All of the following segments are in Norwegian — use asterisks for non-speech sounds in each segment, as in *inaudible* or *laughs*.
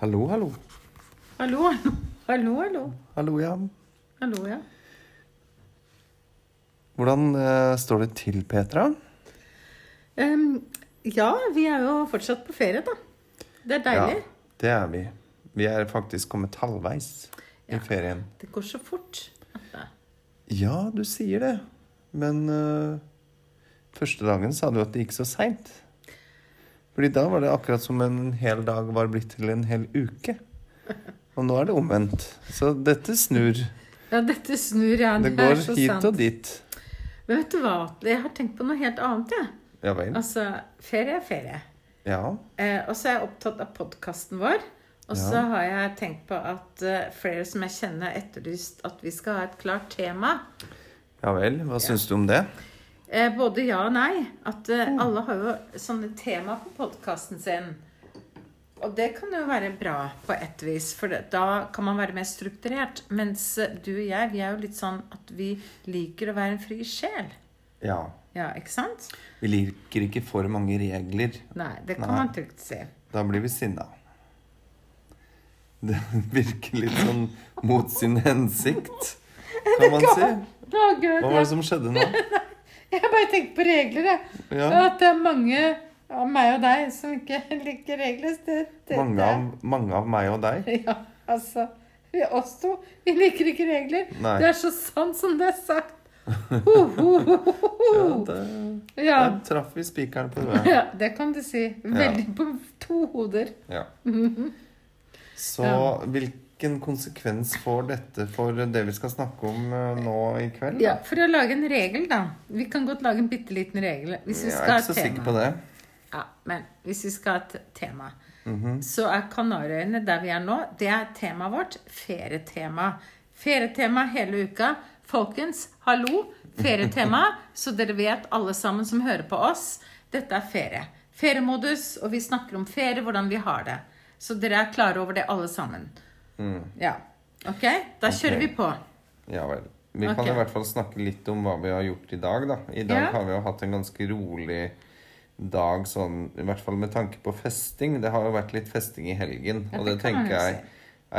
Hallo, hallo. Hallo, hallo. *laughs* Hallo, hallo. Hallo, ja. Hallo, ja. Hvordan eh, står det til, Petra? Em, ja, vi er jo fortsatt på ferie, da. Det er deilig. Ja, det er vi. Vi er faktisk kommet halvveis i ferien. Det går så fort. Ja, du sier det. Men eh, første dagen sa du at det gikk så seint. Fordi da var det akkurat som en hel dag var blitt til en hel uke. Og nå er det omvendt. Så dette snur. Ja, dette snur jeg. Det går er så hit sant. og dit. Men vet du hva? Jeg har tenkt på noe helt annet, jeg. Ja vel. Altså, ferie er ferie. Ja. Eh, og så er jeg opptatt av podkasten vår. Og så Ja. har jeg tenkt på at eh, flere som jeg kjenner, har etterlyst at vi skal ha et klart tema. Ja vel. Hva syns du om det? Eh, både ja og nei. At eh, Mm. alle har jo sånne tema på podkasten sin. Og det kan jo være bra på ett vis, for det, da kan man være mer strukturert. Mens eh, du og jeg, vi er jo litt sånn at vi liker å være en fri sjel. Ja. Ja, ikke sant? Vi liker ikke for mange regler. Nei, det kan Nei. man trygt si. Da blir vi sinna. Det virker litt sånn mot sin hensikt, kan man si. Å, gud. Hva var det som skjedde *laughs* nå? Jeg bare tenker på regler, jeg. Ja. Og At det er mange av meg og deg som ikke *laughs* liker regler. Det, det, Mange av, mange av meg og deg. det- *laughs* Ja, altså. Vi oss to, vi liker ikke regler. Nei. Det er så sant som det er sagt. Ho, ho, ho, ho, Ja, ho. der, Oh. Ja, der traff vi spikeren på huet. ja, det kan du si. Veldig på to hoder. Ja. Så hvilken konsekvens får dette for det vi skal snakke om eh, nå i kveld? da? Ja, For å lage en regel, da. Vi kan godt lage en bitte liten regel. Hvis vi Jeg er skal ha ikke så sikker på tema. det. Ja, men hvis vi skal ha et tema, så er Kanariøyene, der vi er nå, det er temaet vårt. Ferietema. Ferietema hele uka. Folkens, hallo. Ferietema. Så dere vet, alle sammen som hører på oss, dette er ferie. Feriemodus, og vi snakker om ferie, hvordan vi har det. Så dere er klare over det, alle sammen. Ja. Ok? Da kjører vi på. Ja vel. Vi Ok. kan i hvert fall snakke litt om hva vi har gjort i dag, da. I dag Ja. har vi jo hatt en ganske rolig dag, sånn i hvert fall med tanke på festing. Det har jo vært litt festing i helgen, Ja, og det det kan man tenker jo jeg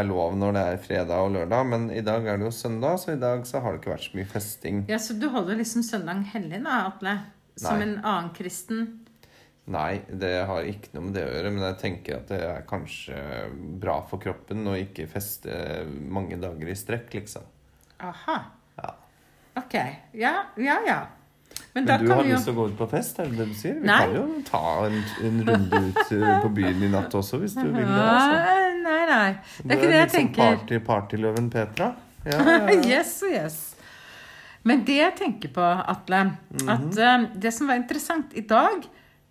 er lov når det er fredag og lørdag, men i dag er det jo søndag, så i dag så har det ikke vært så mye festing. Ja, Så du holder liksom søndag hellig, da, Atle? Som Nei. en annen kristen? Nei, det har ikke noe med det å gjøre, men jeg tenker at det er kanskje bra for kroppen å ikke feste mange dager i strekk, liksom. Aha. Ja. Ok. Ja, ja, ja. Men, da Men du kan har vi jo lyst til å gå ut på fest, er det det du sier? Vi Nei. kan jo ta en, en runde ut eh, på byen i natt også, hvis du vil det. Altså. Nei, nei, nei. Det er ikke det jeg tenker. sånn Party, partyløven Petra. Ja, ja, ja. *laughs* yes og yes. Men det jeg tenker på, Atle Mhm. At eh, det som var interessant i dag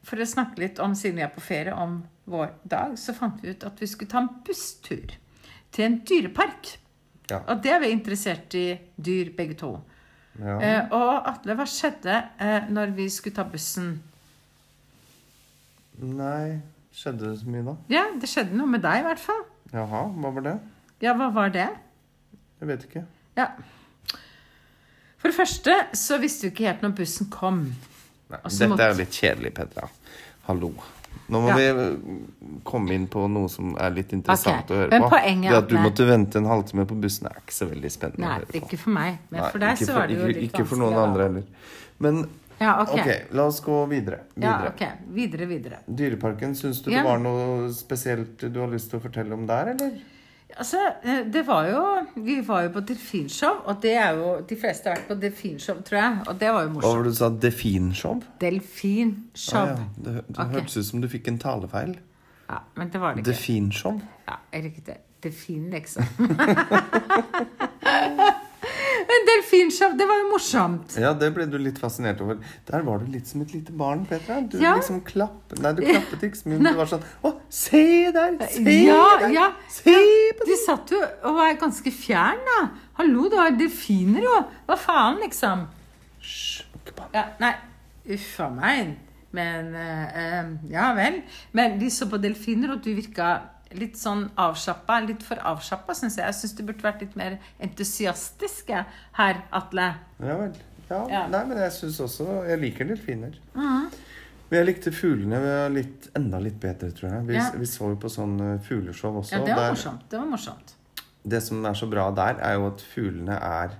For å snakke litt om, siden vi er på ferie, om vår dag, så fant vi ut at vi skulle ta en busstur til en dyrepark. Ja. Og det er vi interessert i dyr, begge to. Ja. Eh, og Atle, hva skjedde eh, når vi skulle ta bussen? Nei, skjedde det så mye da? Ja, det skjedde noe med deg, i hvert fall. Jaha, hva var det? Ja, hva var det? Jeg vet ikke. Ja. For det første så visste du ikke helt når bussen kom. Nei, Og så dette Altså, måtte- er jo litt kjedelig, Petra. Hallo. Nå må Ja. vi eh, komme inn på noe som er litt interessant Ok, å høre men på. poenget er det at at du nei- måtte vente en halvtime på bussen er ikke så veldig spennende Nei, å høre på. ikke for meg. Men Nei, for deg ikke så var det jo ikke, litt Ikke for noen vanskelig, da. andre heller. Men Ja, ok. ok, la oss gå videre. Ja, videre. ok. Videre, videre. Dyreparken, syns du Ja. det var noe spesielt du har lyst til å fortelle om der, eller? Altså, eh, det var jo Vi var jo på delfinshow, og det er jo De fleste har vært på delfinshow, tror jeg. Og det var jo morsomt. var det du sa? Definshow? Delfinshow. ja. Det, det Ok. hørtes ut som du fikk en talefeil. Ja, men det var det ikke. Definshow? Ja, er det ikke det? Delfin, liksom. *laughs* Men delfinshow, det var jo morsomt. Ja, det ble du litt fascinert over. Der var du litt som et lite barn, Petra. Du Ja. liksom klapp... Nei, *laughs* du klappet ikke så mye, men du var sånn Å, se der! Se Ja, der! ja. Se på De satt jo og var ganske fjern, da. Hallo, det var delfiner, jo. Hva faen, liksom. Hysj, ikke bann. Ja, nei, uff a meg. Men eh, eh, Ja vel. Men de så på delfiner, og du virka litt sånn avslappa. Litt for avslappa, syns jeg. Jeg syns du burde vært litt mer entusiastisk jeg, her, Atle. Ja vel. Ja. Ja. Mm-hmm. Nei, men jeg syns også Jeg liker delfiner. Men jeg likte fuglene litt, enda litt bedre, tror jeg. Vi, Ja. vi så jo på sånn eh, fugleshow også. Ja, det var der- morsomt. Det var morsomt. det som er så bra der, er jo at fuglene er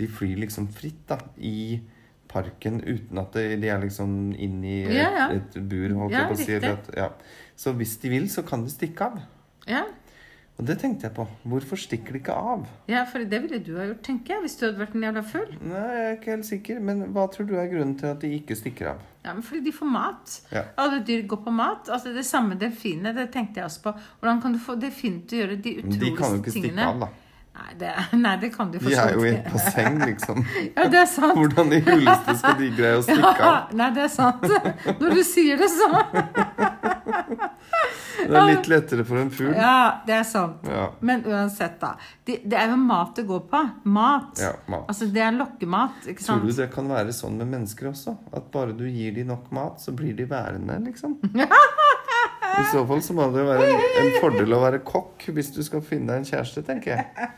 De flyr liksom fritt da, i parken uten at de, de er liksom inn i et, Ja, ja. et bur. Holdt Ja, jeg på å si, riktig. eller at, ja. Så hvis de vil, så kan de stikke av. Ja. Og det tenkte jeg på. Hvorfor stikker de ikke av? ja, for det ville du ha gjort, tenker jeg, hvis du hadde vært en jævla fugl. Nei, jeg er ikke helt sikker, men hva tror du er grunnen til at de ikke stikker av? Ja, men fordi de får mat. Ja. Alle dyr går på mat. Altså Det samme delfinene, det tenkte jeg også på. Hvordan kan du få delfiner til å gjøre de Men utroligste de tingene? kan jo ikke stikke av, da. Nei, det, *laughs* nei, det kan du De forstå. er jo i et basseng, liksom. Ja, det er *laughs* sant. Hvordan i huleste skal de greie å stikke Ja, av? nei, det er sant. *laughs* Når du sier det, sånn. så Det er litt lettere for en fugl. Ja, det er sant. Ja. Men uansett, da. Det, det er jo mat det går på. Mat. Ja, mat. Altså, det er lokkemat, ikke Tror sant? du det kan være sånn med mennesker også? At bare du gir dem nok mat, så blir de værende, *laughs* liksom? I så fall så må det være en, en fordel å være kokk hvis du skal finne deg en kjæreste, tenker jeg.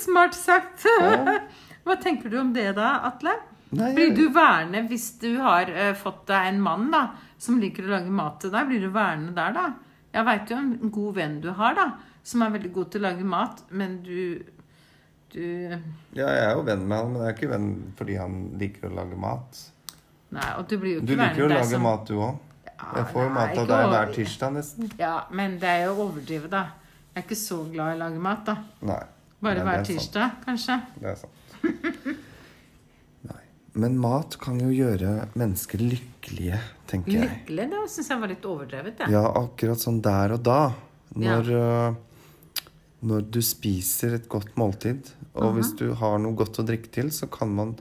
Smart sagt. Ja. *laughs* Hva tenker du om det da, Atle? Nei, Blir du værende hvis du har eh, fått deg en mann da, som liker å lage mat til deg? Blir du værende der, da? Jeg veit jo en god venn du har, da, som er veldig god til å lage mat, men du Du Ja, jeg er jo venn med han, men jeg er ikke venn fordi han liker å lage mat. Nei, og du blir jo Du ikke liker jo å værende der lage som mat, du òg. sånn- Ja, Jeg får jo nei, mat av ikke deg over- hver tirsdag, nesten. Ja, men det er jo å overdrive, da. Jeg er ikke så glad i å lage mat, da. Nei. Bare Nei, hver det er sant. tirsdag, kanskje. Det er sant. *laughs* Nei. Men mat kan jo gjøre mennesker lykkelige, tenker jeg. Lykkelig, det syns jeg var litt overdrevet, jeg. Ja, akkurat sånn der og da. Ja. Når, øh, når du spiser et godt måltid, og hvis du har noe godt å drikke til, så kan man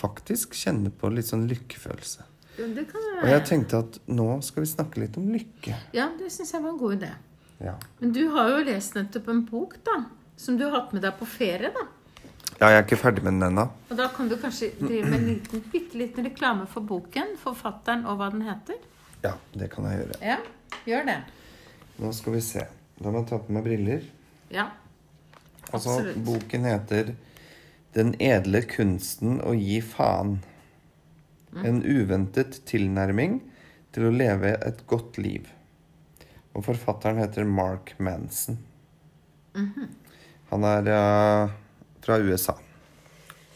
faktisk kjenne på litt sånn lykkefølelse. Det kan jo Og være. jeg tenkte at nå skal vi snakke litt om lykke. Ja, det syns jeg var en god idé. Ja, Men du har jo lest nettopp en bok, da. Som du har hatt med deg på ferie, da. ja jeg er ikke ferdig med den ennå. Og da kan du kanskje drive med en liten, bitte liten reklame for boken, forfatteren og hva den heter. Ja, det kan jeg gjøre. Ja, gjør det. Nå skal vi se. Da må jeg ta på meg briller. Ja. Altså, Absolutt. boken heter 'Den edle kunsten å gi faen'. Mm. En uventet tilnærming til å leve et godt liv. Og forfatteren heter Mark Manson. Mhm. Han er eh, fra USA.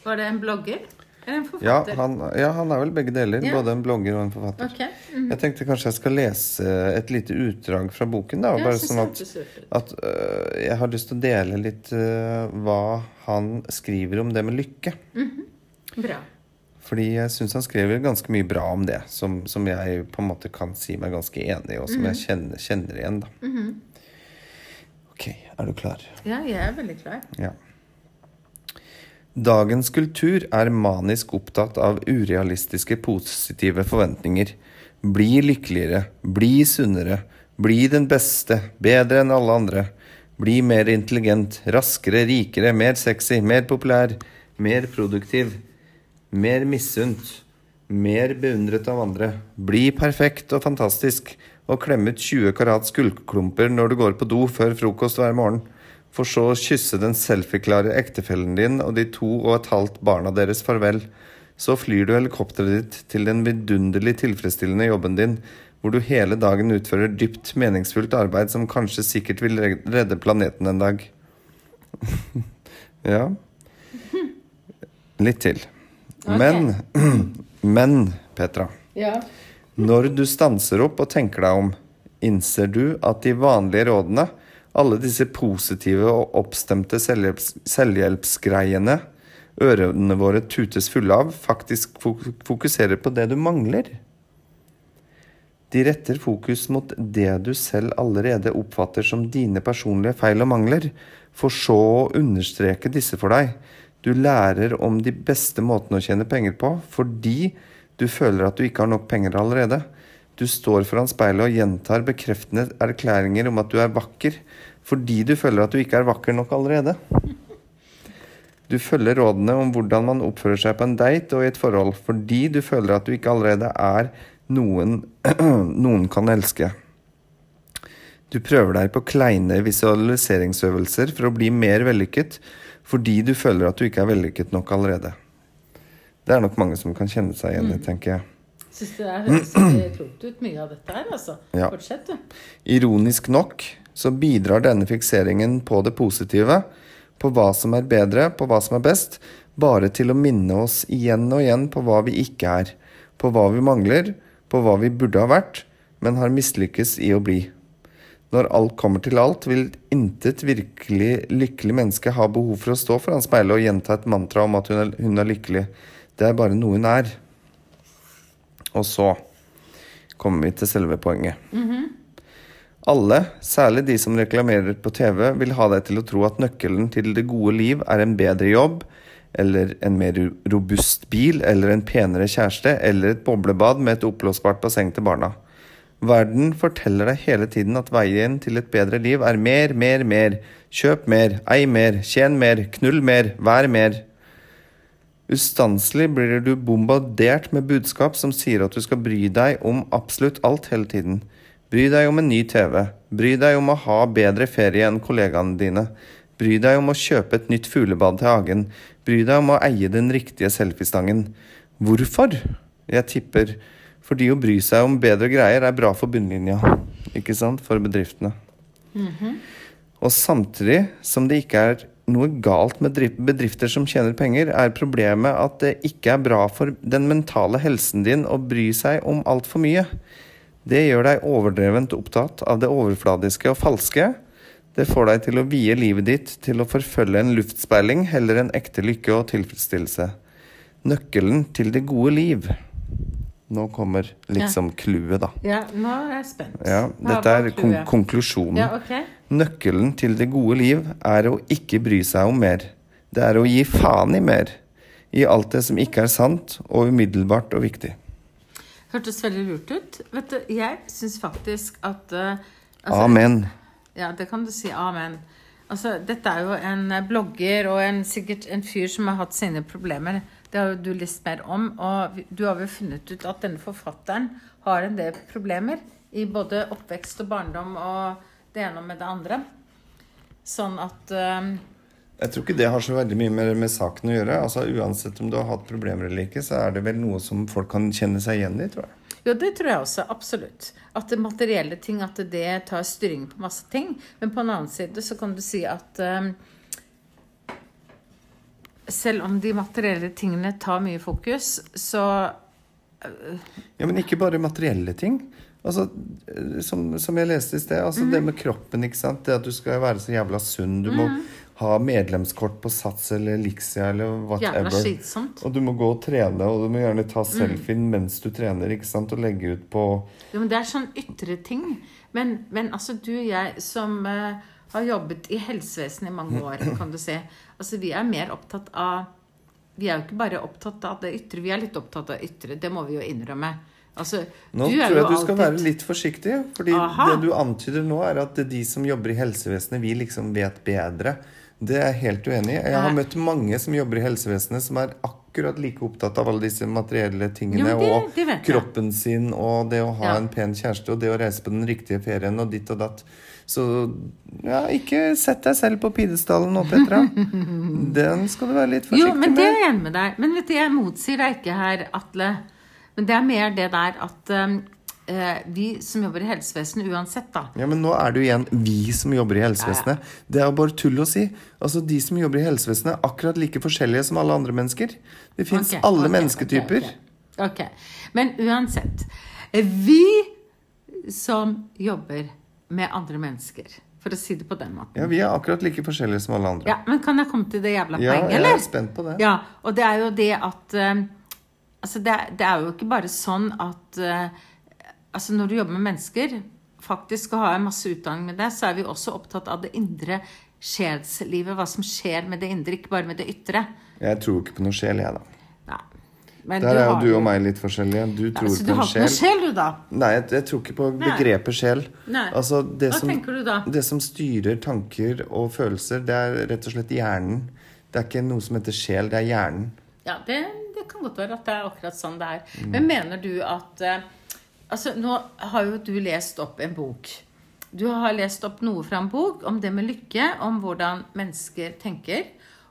Var det en blogger? Eller en Ja forfatter? han, ja, han er vel begge deler. Ja. Både en blogger og en forfatter. Ok. Jeg tenkte kanskje jeg skal lese et lite utdrag fra boken, da. Ja, bare synes sånn jeg at hørtes lurt ut. at øh, jeg har lyst til å dele litt øh, hva han skriver om det med lykke. Bra. Fordi jeg syns han skriver ganske mye bra om det, som, som jeg på en måte kan si meg ganske enig i, og som jeg Mm. kjenner, kjenner igjen, da. Mm-hmm. Ok, er du klar? Ja, jeg er veldig klar. Ja. Dagens kultur er manisk opptatt av urealistiske positive forventninger. Bli lykkeligere, bli sunnere, bli den beste, bedre enn alle andre. Bli mer intelligent, raskere, rikere, mer sexy, mer populær, mer produktiv, mer misunt, mer beundret av andre. Bli perfekt og fantastisk, og klem ut 20 karats gullklumper når du går på do før frokost hver morgen. For så å kysse den selfieklare ektefellen din og de to og et halvt barna deres farvel. Så flyr du helikopteret ditt til den vidunderlig tilfredsstillende jobben din, hvor du hele dagen utfører dypt meningsfullt arbeid som kanskje sikkert vil re- redde planeten en dag. ja Litt til. Ok. Men, *clears throat* men, Petra. Ja. Når du stanser opp og tenker deg om, innser du at de vanlige rådene, alle disse positive og oppstemte selvhjelps selvhjelpsgreiene ørene våre tutes fulle av, faktisk fo- fokuserer på det du mangler? De retter fokus mot det du selv allerede oppfatter som dine personlige feil og mangler, for så å understreke disse for deg. Du lærer om de beste måtene å tjene penger på, fordi du føler at du ikke har nok penger allerede. Du står foran speilet og gjentar bekreftende erklæringer om at du er vakker, fordi du føler at du ikke er vakker nok allerede. Du følger rådene om hvordan man oppfører seg på en date og i et forhold, fordi du føler at du ikke allerede er noen *clears throat* noen kan elske. Du prøver deg på kleine visualiseringsøvelser for å bli mer vellykket, fordi du føler at du ikke er vellykket nok allerede. Det er nok mange som kan kjenne seg igjen i, tenker jeg. Syns det der høres ikke klokt ut, mye av dette her, altså. Ja. Fortsett, du. Ironisk nok så bidrar denne fikseringen på det positive, på hva som er bedre, på hva som er best, bare til å minne oss igjen og igjen på hva vi ikke er, på hva vi mangler, på hva vi burde ha vært, men har mislykkes i å bli. Når alt kommer til alt, vil intet virkelig lykkelig menneske ha behov for å stå foran speilet og gjenta et mantra om at hun er, hun er lykkelig. Det er bare noe hun er. Og så kommer vi til selve poenget. Alle, særlig de som reklamerer på TV, vil ha deg til å tro at nøkkelen til det gode liv er en bedre jobb, eller en mer ro- robust bil, eller en penere kjæreste, eller et boblebad med et oppblåsbart basseng til barna. Verden forteller deg hele tiden at veien til et bedre liv er mer, mer, mer. Kjøp mer, ei mer, tjen mer, knull mer, vær mer. Ustanselig blir du bombardert med budskap som sier at du skal bry deg om absolutt alt hele tiden. Bry deg om en ny TV. Bry deg om å ha bedre ferie enn kollegaene dine. Bry deg om å kjøpe et nytt fuglebad til hagen. Bry deg om å eie den riktige selfiestangen. Hvorfor? Jeg tipper fordi å bry seg om bedre greier er bra for bunnlinja, ikke sant, for bedriftene. Og samtidig som det ikke er noe galt med drif- bedrifter som tjener penger, er problemet at det ikke er bra for den mentale helsen din å bry seg om altfor mye. Det gjør deg overdrevent opptatt av det overfladiske og falske. Det får deg til å vie livet ditt til å forfølge en luftspeiling heller enn ekte lykke og tilfredsstillelse. Nøkkelen til det gode liv. Nå kommer liksom clouet, da. Ja, nå er jeg spent. Ja, Hva dette var er kon clouet? konklusjonen. Ja, ok. Nøkkelen til det gode liv er å ikke bry seg om mer. Det er å gi faen i mer. I alt det som ikke er sant og umiddelbart og viktig. Hørtes veldig lurt ut. Vet du, jeg syns faktisk at eh, altså, Amen. Ja, det kan du si. Amen. Altså, dette er jo en eh, blogger og en, sikkert en fyr som har hatt sine problemer. Det har jo du lest mer om, og vi- du har vel funnet ut at denne forfatteren har en del problemer i både oppvekst og barndom og det ene med det andre. Sånn at eh, Jeg tror ikke det har så veldig mye med, med saken å gjøre. Altså Uansett om du har hatt problemer eller ikke, så er det vel noe som folk kan kjenne seg igjen i, tror jeg. Jo, det tror jeg også. Absolutt. At det materielle ting, at det tar styring på masse ting. Men på en annen side så kan du si at eh, selv om de materielle tingene tar mye fokus, så Ja, Men ikke bare materielle ting. Altså, eh, som, som jeg leste i sted, altså Mhm. det med kroppen, ikke sant. Det at du skal være så jævla sunn. Du må Mhm. ha medlemskort på Sats eller Elixia eller whatever. jævla slitsomt. Og du må gå og trene, og du må gjerne ta selfien mens du trener, ikke sant, og legge ut på Jo, men det er sånn ytre ting. Men, men altså, du og jeg som eh, har jobbet i helsevesenet i mange år, kan du se. Altså, vi er mer opptatt av Vi er jo ikke bare opptatt av det ytre, vi er litt opptatt av ytre. Det må vi jo innrømme. Altså, Nå du er tror jeg jo du skal alltid- være litt forsiktig, fordi Aha. det du antyder nå, er at det er de som jobber i helsevesenet, vi liksom vet bedre. Det er jeg helt uenig i. Jeg har Nei. møtt mange som jobber i helsevesenet, som er akkurat like opptatt av alle disse materielle Jo, tingene, men det- og det vet jeg. kroppen sin, og det å ha Ja. en pen kjæreste, og det å reise på den riktige ferien, og ditt og datt. Så ja, ikke sett deg selv på pidestallen nå, *laughs* Petra. Den skal du være litt Jo, forsiktig men det med. er jeg enig med deg. Men vet du, jeg motsier deg ikke her, Atle. Men det er mer det der at eh, vi som jobber i helsevesenet uansett, da Ja, men nå er det jo igjen vi som jobber i helsevesenet. Det er jo bare tull å si. Altså, De som jobber i helsevesenet, er akkurat like forskjellige som alle andre mennesker. Det fins Ok, alle ok, mennesketyper. ok, ok. ok. Men uansett. eh, Vi som jobber med andre mennesker, for å si det på den måten. Ja, Vi er akkurat like forskjellige som alle andre. Ja, Men kan jeg komme til det jævla Ja, poenget, jeg eller? er spent på det. Ja, og det er jo det at eh, Altså, det er, det er jo ikke bare sånn at eh, Altså, når du jobber med mennesker, faktisk skal ha en masse utdanning med deg, så er vi også opptatt av det indre sjelslivet. Hva som skjer med det indre, ikke bare med det ytre. Jeg tror jo ikke på noe sjel, jeg, da. Nei. Men Der er jo har du og meg litt forskjellige. Du tror altså, Du på en har ikke noe sjel. sjel, du, da? Nei, jeg, jeg tror ikke på Nei. begrepet sjel. Nei. Altså, det Hva som, tenker du da? Det som styrer tanker og følelser, det er rett og slett hjernen. Det er ikke noe som heter sjel, det er hjernen. Ja, det, det kan godt være at det er akkurat sånn det er. Mm. Men mener du at eh, Altså, nå har jo du lest opp en bok. Du har lest opp noe fra en bok om det med lykke, om hvordan mennesker tenker.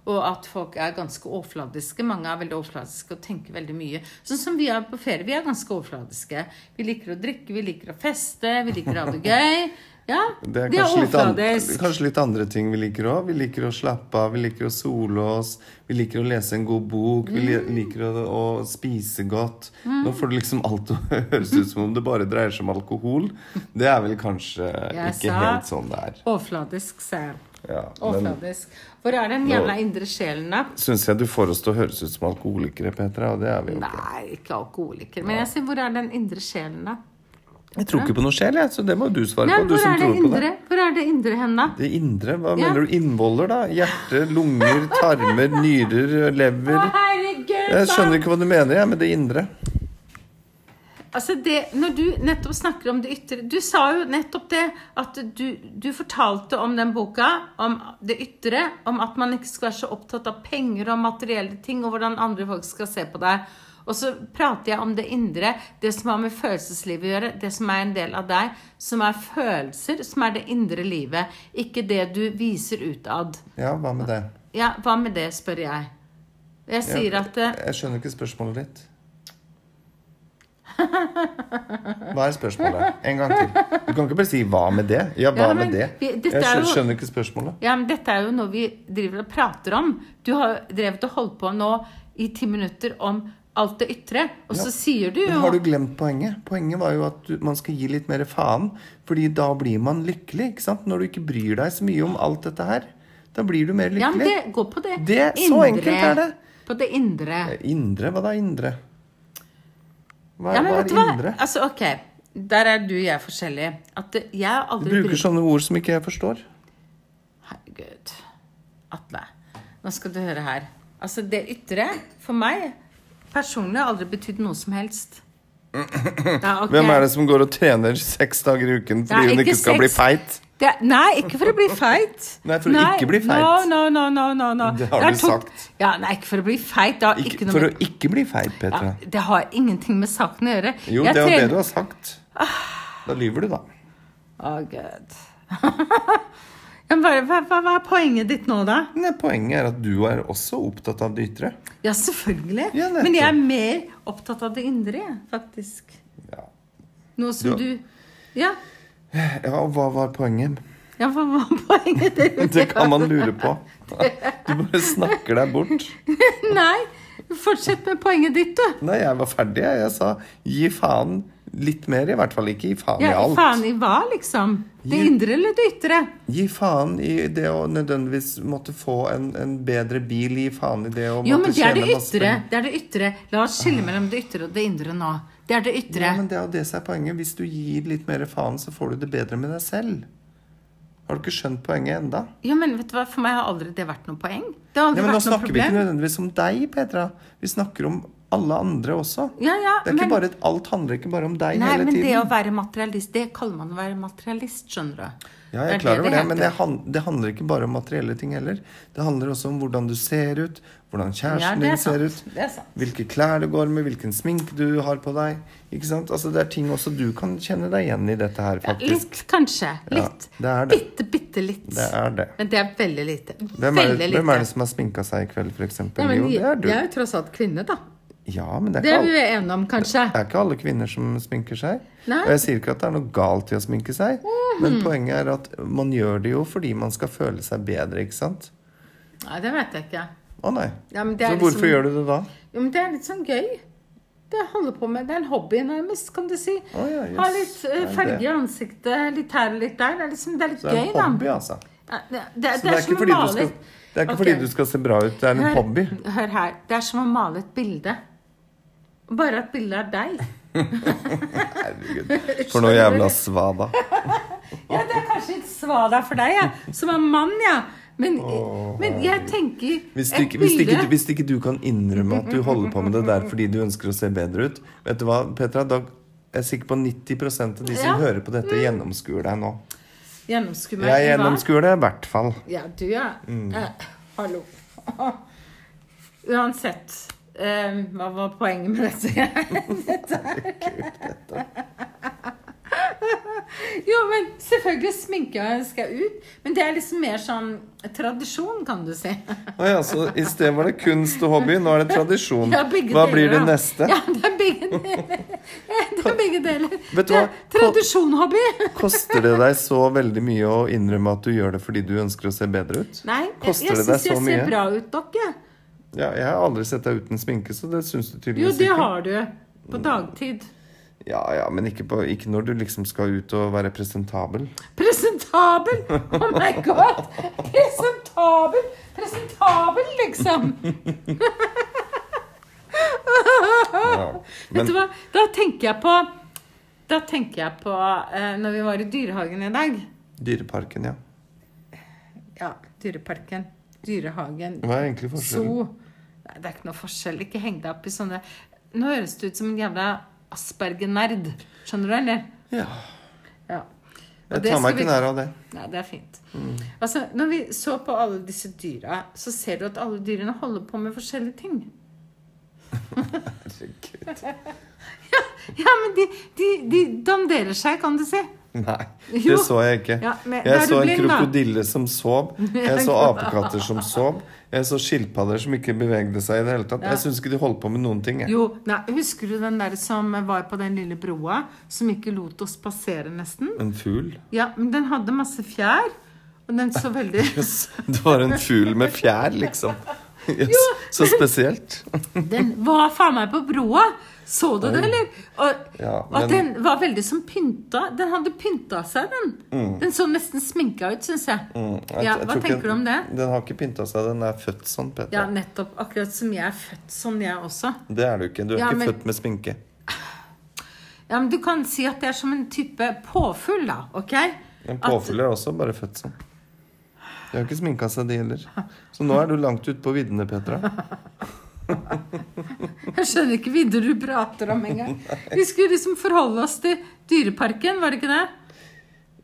Og at folk er ganske overfladiske. Mange er veldig overfladiske og tenker veldig mye. Sånn som vi er på ferie. Vi er ganske overfladiske. Vi liker å drikke, vi liker å feste, vi liker å *laughs* ha det gøy. Ja, Det er vi er kanskje litt, an overfladisk. kanskje litt andre ting vi liker òg. Vi liker å slappe av, vi liker å sole oss, vi liker å lese en god bok, vi Mm. li- liker å, å spise godt. Nå får det liksom alt til å *laughs* høres ut som om det bare dreier seg om alkohol. Det er vel kanskje Jeg ikke sa- helt sånn det er. Overfladisk, sa jeg. Ja, men Overfladisk. Hvor er den jævla indre sjelen, da? syns jeg du får oss til å høres ut som alkoholikere, Petra, og det er vi jo ikke. Nei, ikke alkoholiker. Men jeg sier, hvor er den indre sjelen, da? Jeg tror ikke på noe sjel, jeg, så det må du svare Nei, på. Du hvor, som er det tror på det. indre? hvor er det indre hen, da? Det indre? Hva Ja. mener du? Innvoller, da? Hjerte, lunger, tarmer, nyrer, lever? Herregud! Jeg da. skjønner ikke hva du mener jeg, med det indre. Altså det, når du nettopp snakker om det ytre Du sa jo nettopp det at du, du fortalte om den boka, om det ytre, om at man ikke skal være så opptatt av penger og materielle ting, og hvordan andre folk skal se på deg. Og så prater jeg om det indre, det som har med følelseslivet å gjøre, det som er en del av deg, som er følelser, som er det indre livet, ikke det du viser utad. Ja, hva med det? Ja, hva med det, spør jeg. Jeg sier at eh, Jeg skjønner ikke spørsmålet ditt. Hva er spørsmålet? En gang til. Du kan ikke bare si 'hva med det'? Ja, hva Ja, men med det? vi- Jeg dette er skjø- jo- skjønner ikke spørsmålet. Ja, men dette er jo noe vi driver og prater om. Du har drevet og holdt på nå i ti minutter om alt det ytre, og så sier du Men jo har du glemt poenget? Poenget var jo at du, man skal gi litt mer faen. Fordi da blir man lykkelig, ikke sant? Når du ikke bryr deg så mye om alt dette her. Da blir du mer lykkelig. Ja, men det går på det, Det- så enkelt er det. På det indre. Indre? Hva da, indre? Hva, Ja, men hva vet er du hva? indre? Altså, ok. Der er du og jeg forskjellige. At det- jeg har Du aldri bruker brydd- sånne ord som ikke jeg forstår. Herregud. Atle, nå skal du høre her. Altså, det ytre, for meg, personlig, har aldri betydd noe som *clears throat* helst. Ja, ok. Hvem er det som går og trener seks dager i uken fordi Nei, hun ikke skal bli sex. feit? Det er, nei, ikke for å bli feit. *laughs* Nei, for å ikke bli feit. No, no, no, no, no, no. Det har er du tok- sagt. Ja, nei, ikke for å bli feit. Det har ikke, Ikke, noe for å med, ikke bli feit, Petra. ja, Det har ingenting med saken å gjøre. Jo, det er jo det du har sagt. Ah. Da lyver du, da. Å, gud. *laughs* Ja, men hva, hva, hva er poenget ditt nå, da? Nei, poenget er at du er også opptatt av det ytre. Ja, selvfølgelig. Ja, nettopp. men jeg er mer opptatt av det indre, jeg, faktisk. Ja. Noe som du, Du- Ja. ja, og hva var *laughs* poenget? Ja, hva var poenget ditt? *laughs* Det kan man lure på. Du bare snakker deg bort. *laughs* Nei, fortsett med poenget ditt, du. Nei, jeg var ferdig. jeg. Jeg sa gi faen litt mer, i hvert fall ikke gi faen i Ja, alt. faen i hva, liksom? Det Gi- indre eller det ytre? Gi faen i det å nødvendigvis måtte få en, en bedre bil. Gi faen i det å Jo, men måtte det er det tjene masse ytre. penger. Det er det ytre. La oss skille mellom det ytre og det indre nå. Det er det ytre. Ja, men det er jo det som er poenget. Hvis du gir litt mer faen, så får du det bedre med deg selv. Har du ikke skjønt poenget enda? Jo, men vet du hva, for meg har aldri det vært noe poeng. Det har Ja, aldri men nå vært noe snakker vi ikke problem. nødvendigvis om deg, Petra. Vi snakker om alle andre også. Ja, ja, det er ikke men- bare, alt handler ikke bare om deg Nei, hele men det å tiden. være materialist, det kaller man å være materialist, skjønner du. Ja, jeg er Det klar over det, heter. men det, han, det handler ikke bare om materielle ting heller. Det handler også om hvordan du ser ut, hvordan Ja, kjæresten det er din sånn ser ut. sant. Det er sant. Hvilke klær du går med, hvilken sminke du har på deg. Ikke sant? Altså, det er ting også du kan kjenne deg igjen i dette her, faktisk. Litt, kanskje. Ja, Litt. det er det. Bitte, bitte litt. Det er det. Men det er veldig lite. Hvem er, veldig det- lite. hvem er det som har sminka seg i kveld, for eksempel? ja, men, jo, det er du. Jeg er jo tross alt kvinne, da. Ja, men det er, Det ikke er vi alle, jo enige om, kanskje. det er ikke alle kvinner som sminker seg. Nei. Og jeg sier ikke at det er noe galt i å sminke seg, men poenget er at man gjør det jo fordi man skal føle seg bedre, ikke sant? Nei, det vet jeg ikke. Å nei. Ja, men det Så er hvorfor liksom- gjør du det da? Jo, men det er litt sånn gøy. Det jeg holder på med, det er en hobby nærmest, kan du si. Å, ja, jøss. Ha litt eh, Ja, det- farge i ansiktet, litt her og litt der. Det er, liksom, det er litt Det er gøy, en da. hobby, altså. Ja, Det, det, det, Så det er som ikke å fordi du male skal, et- det er ikke Ok. fordi du skal se bra ut, det er en Hør- hobby. Hør her. Det er som å male et bilde. Bare at bildet er deg. Herregud. For noe jævla svada. Ja, det er kanskje et svar der for deg, jeg, som er mann, ja. Men, Å, men jeg tenker Hvis, et du ikke- hvis, bilde- ikke- hvis ikke du kan innrømme at du holder på med det der fordi du ønsker å se bedre ut Vet du hva, Petra? Da er jeg sikker på 90 av de som Ja. hører på dette, gjennomskuer deg nå. Gjennomskuer meg. Jeg i hva? gjennomskuer det i hvert fall. Ja, du, ja. Mm. Eh, hallo. *laughs* Uansett. eh, *laughs* hva var poenget med dette? dette her? *laughs* Jo, men selvfølgelig sminke skal jeg ut. Men det er liksom mer sånn tradisjon, kan du si. Å ja, så i sted var det kunst og hobby, nå er det tradisjon. Ja, begge Hva deler, blir det da. neste? Ja, det er begge deler. *laughs* Det er begge deler. Vet du Det er hva? Tradisjon, hobby. Koster det deg så veldig mye å innrømme at du gjør det fordi du ønsker å se bedre ut? Nei, jeg, Koster jeg det deg syns så jeg ser mye? bra ut, dere. Ja, jeg har aldri sett deg uten sminke, så det syns du Jo, tydeligvis det ikke. har du. På dagtid. Ja, ja, men ikke, på, ikke når du liksom skal ut og være presentabel. Presentabel! Oh my god! Presentabel! Presentabel, liksom. Ja. Vet Men du hva? Da tenker jeg på Da tenker jeg på eh, når vi var i dyrehagen i dag. Dyreparken, ja. Ja, Dyreparken. Dyrehagen. Hva er egentlig forskjellen? Zoo. Nei, det er ikke noe forskjell. Ikke heng deg opp i sånne Nå høres du ut som en jævla Asperger-nerd. Skjønner du, eller? Ja. Ja. Og Jeg det tar meg skal ikke vi- nær Mm. av det. Nei, det er fint. Altså, når vi så på alle disse dyra, så ser du at alle dyrene holder på med forskjellige ting. Herregud. Ja, men de, de, de danderer seg, kan du si. *laughs* Nei, Jo. det så jeg ikke. Ja, men da er Jeg du så en blind, da. krokodille som sov. Jeg så *laughs* apekatter som sov. Jeg så skilpadder som ikke bevegde seg i det hele tatt. Ja. Jeg syns ikke de holdt på med noen ting. Jeg. Jo, nei, Husker du den der som var på den lille broa, som ikke lot oss passere, nesten? En fugl? Ja, men den hadde masse fjær, og den så *laughs* veldig Jøss. Det var en fugl med fjær, *laughs* liksom. Jøss, så spesielt. Den var faen meg på broa! Så du det, eller? Og, Ja, og men- at den var veldig som pynta. Den hadde pynta seg, den. Den så nesten sminka ut, syns jeg. Mm, jeg- Ja, jeg Hva tror ikke- tenker du om det? Den har ikke pynta seg. Den er født sånn, Petra. Ja, nettopp. Akkurat som jeg er født sånn, jeg også. Det er du ikke. Du er Ja, ikke men- født med sminke. Ja, men Du kan si at det er som en type påfugl, da. Ok? En At- påfugl er også bare født sånn. De har ikke sminka seg, de heller. Så nå er du langt ute på viddene, Petra. Jeg skjønner ikke videre du prater om engang. Vi skulle liksom forholde oss til Dyreparken, var det ikke det?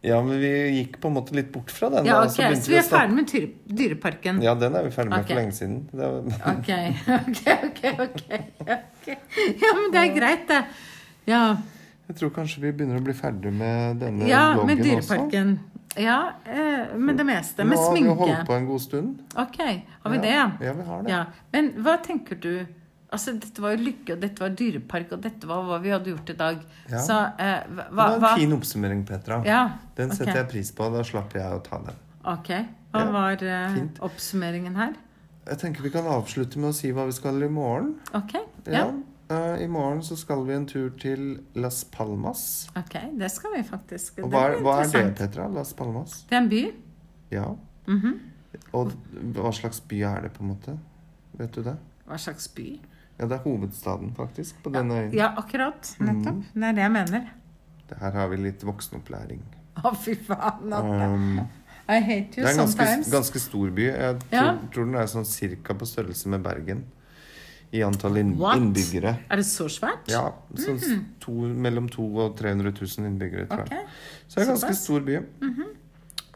Ja, men vi gikk på en måte litt bort fra den. Ja, da, ok, begynte Så vi å er snakke- ferdig med dyre, Dyreparken. Ja, den er vi ferdig med Ok. for lenge siden. Det var... Ok, ok, ok. ok, ok. Ja, men det er greit, det. Ja, Jeg tror kanskje vi begynner å bli ferdig med denne ja vloggen med også. Dyreparken. Ja, eh, med det meste. Med Nå har vi jo holdt sminke. på en god stund. Ok, har vi det? Ja, ja, vi har det. Ja, Men hva tenker du Altså, dette var jo lykke, og dette var dyrepark, og dette var hva vi hadde gjort i dag. Ja. Så eh, Det hva, hva var en fin oppsummering, Petra. Ja. Den ok. setter jeg pris på. Da slapp jeg å ta den. Ok. Hva Ja, var eh, fint. oppsummeringen her? Jeg tenker vi kan avslutte med å si hva vi skal i morgen. Ok. Ja. Ja. Eh, I morgen så skal vi en tur til Las Palmas. Ok, det skal vi faktisk. Og hva er, blir hva er det, interessant. Petra? Las Palmas? Det er en by. Mhm. Ja. Og hva slags by er det, på en måte? Vet du det? Hva slags by? Ja, det er hovedstaden, faktisk, på denne øyen. Ja, akkurat. Mhm. Nettopp. Det er det jeg mener. Det Her har vi litt voksenopplæring. Å, fy faen. Natta. Um, I hate det you er en ganske, sometimes. ganske stor by. Jeg tror, Ja. tror den er sånn cirka på størrelse med Bergen i antall inn, What? innbyggere. Er det så svært? Ja, sånn to, mellom 200 og 300 000 innbyggere, tror Ok. jeg. Så det er en ganske Såpass. Mhm. stor by.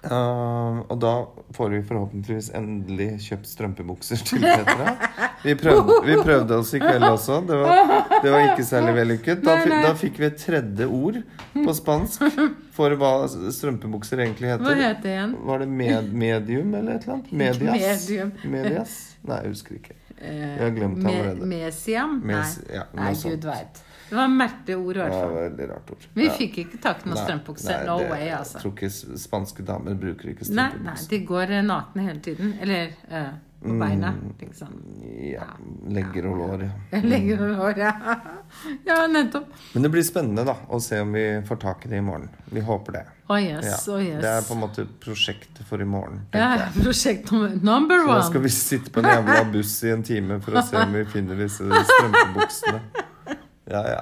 Uh, og da får vi forhåpentligvis endelig kjøpt strømpebukser til Petra. Vi prøvde, vi prøvde oss i kveld også. Det var, det var ikke særlig vellykket. Da, Nei, fi- nei. da fikk vi et tredje ord på spansk for hva strømpebukser egentlig Hva heter. heter det igjen? Var det med, medium eller et eller annet? Medias? Medium. Medias? Nei, jeg husker ikke. Eh, Jeg har glemt det Me- allerede. Mesiam? Mes- Nei, ja, noe Nei sånt. gud veit. Det var merkelig ord, i Det hvert var fall. et veldig rart ord. Vi Ja. fikk ikke tak i noen Nei, strømpebukser. nei, No det- way, Jeg altså. tror ikke s- spanske damer bruker ikke Nei, nei, strømpebukser. de går eh, nakne hele tiden. Eller eh, Mm. på beina, liksom. Ja, legger og lår, ja. Legger Mm. over håret. *laughs* Ja, nettopp. Men det blir spennende da, å se om vi får tak i det i morgen. Vi håper det. Å Ja. yes, å Det er på yes. en måte prosjektet for i morgen. tenker Ja, jeg. prosjekt nummer- number Da skal one. vi sitte på en jævla *laughs* buss i en time for å se om vi finner disse strømpebuksene. Ja, ja.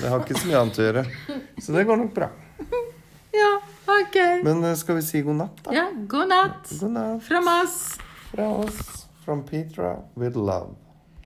Det har ikke så mye annet å gjøre. Så det går nok bra. Ja, ok. Men eh, skal vi si god natt, da? Ja, god natt God natt from us. fra oss. From Petra with love.